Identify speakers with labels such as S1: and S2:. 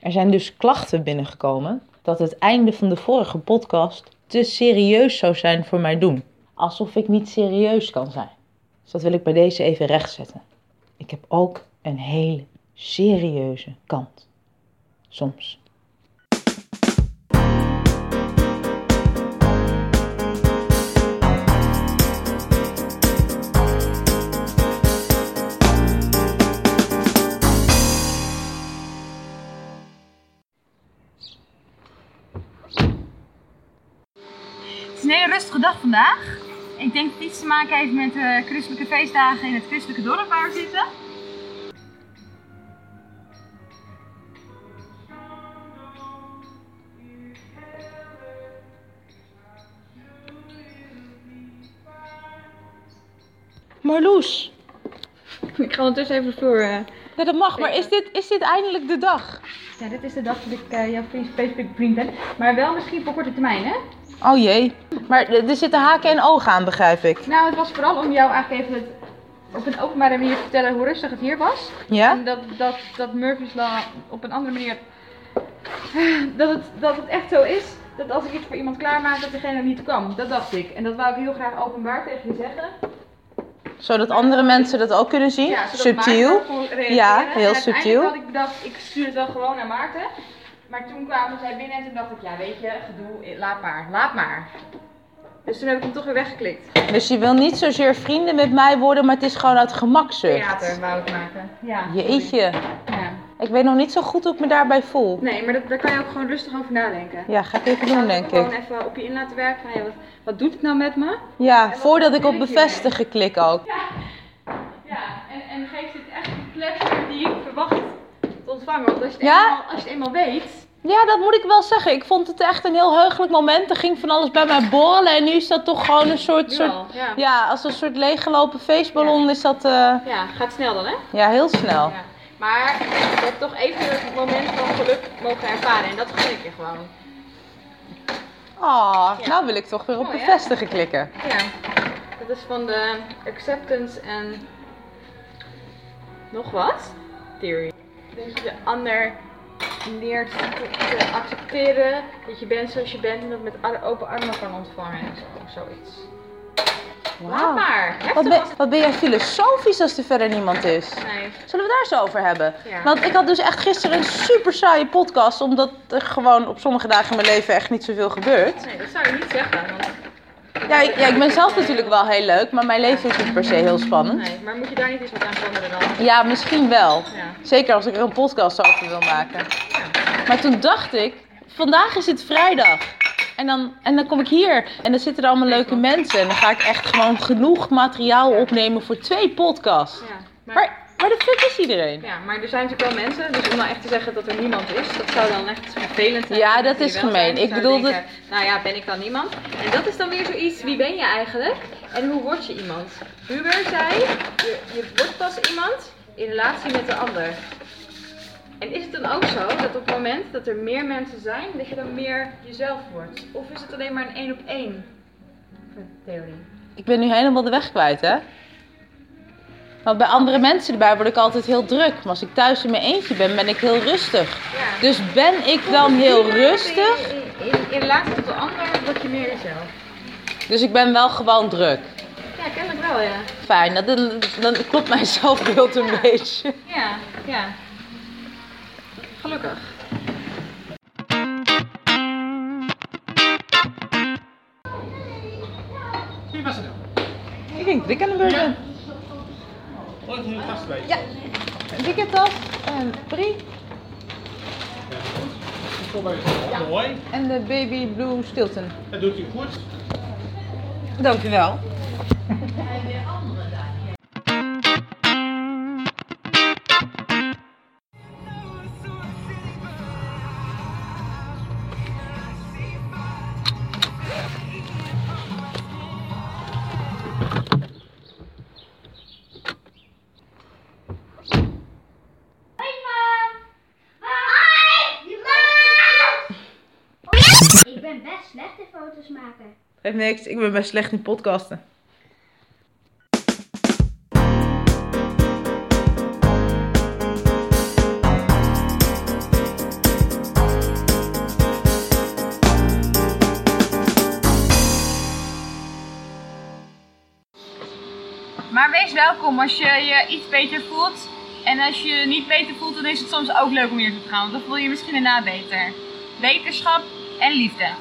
S1: Er zijn dus klachten binnengekomen dat het einde van de vorige podcast te serieus zou zijn voor mijn doen. Alsof ik niet serieus kan zijn. Dus dat wil ik bij deze even rechtzetten. Ik heb ook een hele serieuze kant. Soms.
S2: Het is een hele rustige dag vandaag. Ik denk dat het iets te maken heeft met de christelijke feestdagen in het christelijke dorp waar we zitten.
S1: Marloes,
S2: Ik ga ondertussen even de vloer. eh.
S1: ja, dat mag, maar is dit, is dit eindelijk de dag?
S2: Ja, dit is de dag dat ik eh, jouw specifieke vriend ben. Maar wel misschien voor korte termijn, hè?
S1: Oh jee, maar er er zitten haken en ogen aan, begrijp ik.
S2: Nou, het was vooral om jou eigenlijk even het- op een openbare manier te vertellen hoe rustig het hier was.
S1: Ja?
S2: En dat, dat, dat Murphy's Law op een andere manier. Dat het, dat het echt zo is dat als ik iets voor iemand klaarmaak, dat degene niet kwam. Dat dacht ik. En dat wou ik heel graag openbaar tegen je zeggen.
S1: Zodat andere mensen dat ook kunnen zien.
S2: Ja, zodat
S1: Subtiel.
S2: Maarten kon reageren.
S1: Ja,
S2: En
S1: heel
S2: uiteindelijk
S1: subtiel.
S2: had ik bedacht, ik stuur het wel gewoon naar Maarten. Maar toen kwamen zij binnen en toen dacht ik, ja weet je, gedoe, eh, laat maar, laat maar. Dus toen heb ik hem toch weer weggeklikt.
S1: Dus je wil niet zozeer vrienden met mij worden, maar het is gewoon uit
S2: Theater
S1: gemakzucht.
S2: wou ik maken. Ja.
S1: Jeetje,
S2: Ja.
S1: ik weet nog niet zo goed hoe ik me daarbij voel.
S2: Nee, maar dat, daar kan je ook gewoon rustig over nadenken.
S1: Ja, ga ik even
S2: Laat
S1: doen,
S2: het
S1: denk
S2: gewoon
S1: ik.
S2: even op je in laten werken. Van, hé, wat, wat doet het nou met me?
S1: Ja, voordat ik op bevestigen klik ook.
S2: Ja, en, en geeft dit echt de pleasure die ik verwacht te ontvangen. Want als je het,
S1: Ja?
S2: eenmaal, als je het eenmaal weet...
S1: Ja, dat moet ik wel zeggen. Ik vond het echt een heel heugelijk moment. Er ging van alles bij mij borrelen en nu is dat toch gewoon een soort...
S2: nu
S1: soort
S2: al, Ja.
S1: ja, als een soort leeggelopen feestballon is dat eh,
S2: ja, gaat snel dan hè?
S1: ja, heel snel.
S2: Ja. Maar je hebt toch even het moment van geluk mogen ervaren. En dat gun ik je gewoon.
S1: Ah,
S2: Ja.
S1: nou wil ik toch weer op
S2: Mooi, hè?
S1: bevestigen klikken.
S2: Ja. Dat is van de acceptance en... Nog wat? Theory. Dat je de ander leert te te accepteren. Dat je bent zoals je bent. En dat met ar- open armen kan ontvangen. En zo, zoiets. Laat
S1: Wauw.
S2: maar.
S1: Wat
S2: Heftig
S1: ben,
S2: was het.
S1: wat ben jij filosofisch als er verder niemand is?
S2: Nee.
S1: Zullen we daar zo over hebben?
S2: Ja.
S1: Want ik had dus echt gisteren een super saaie podcast, omdat er gewoon op sommige dagen in mijn leven echt niet zoveel gebeurt.
S2: nee, dat zou je niet zeggen. Want...
S1: Ja, ik, ja, ik ben zelf natuurlijk wel heel leuk, maar mijn leven is niet per se heel spannend.
S2: Nee, maar moet je daar niet eens wat aan veranderen dan?
S1: Ja, misschien wel.
S2: Ja.
S1: Zeker als ik er een podcast over wil maken. Maar toen dacht ik, vandaag is het vrijdag. En dan, en dan kom ik hier en dan zitten er allemaal leuke mensen. En dan ga ik echt gewoon genoeg materiaal opnemen voor twee podcasts.
S2: ja. Maar...
S1: Waar, waar de fuck is iedereen?
S2: Ja, maar er zijn natuurlijk wel mensen, dus om nou echt te zeggen dat er niemand is, dat zou dan echt vervelend zijn.
S1: Ja,
S2: Mensen
S1: dat
S2: die
S1: is
S2: wel
S1: gemeen.
S2: zijn, die
S1: Ik
S2: zouden
S1: bedoelde-
S2: denken, Nou ja, ben ik dan niemand? En dat is dan weer zoiets, wie ben je eigenlijk? En hoe word je iemand? Huber zei, je, je wordt pas iemand in relatie met de ander. En is het dan ook zo dat op het moment dat er meer mensen zijn, dat je dan meer jezelf wordt? Of is het alleen maar een één op één theorie?
S1: Ik ben nu helemaal de weg kwijt, hè? Want bij andere mensen erbij word ik altijd heel druk. Maar als ik thuis in mijn eentje ben, ben ik heel rustig.
S2: Ja.
S1: Dus ben ik dan heel rustig?
S2: In, in, in relatie tot de ander word je meer jezelf.
S1: Dus ik ben wel gewoon druk.
S2: Ja, kennelijk wel, ja.
S1: Fijn, dat, dan klopt mijn zelfbeeld een beetje.
S2: Ja, ja. Gelukkig.
S3: Wie was het dan?
S1: Ik denk dat ik aan de beurt ben.
S3: Hoor ik nu een gast bij je?
S1: Ja, wikkertas en Pri
S3: Ik kom bij je. Mooi.
S1: en de baby blue Stilton.
S3: Dat doet u goed.
S1: Dankjewel.
S4: Ik ben best slecht in foto's maken.
S1: Geeft niks, ik ben best slecht in podcasten.
S2: Maar wees welkom als je je iets beter voelt. En als je je niet beter voelt, dan is het soms ook leuk om hier te gaan. Want dan voel je je misschien daarna beter. Wetenschap en liefde.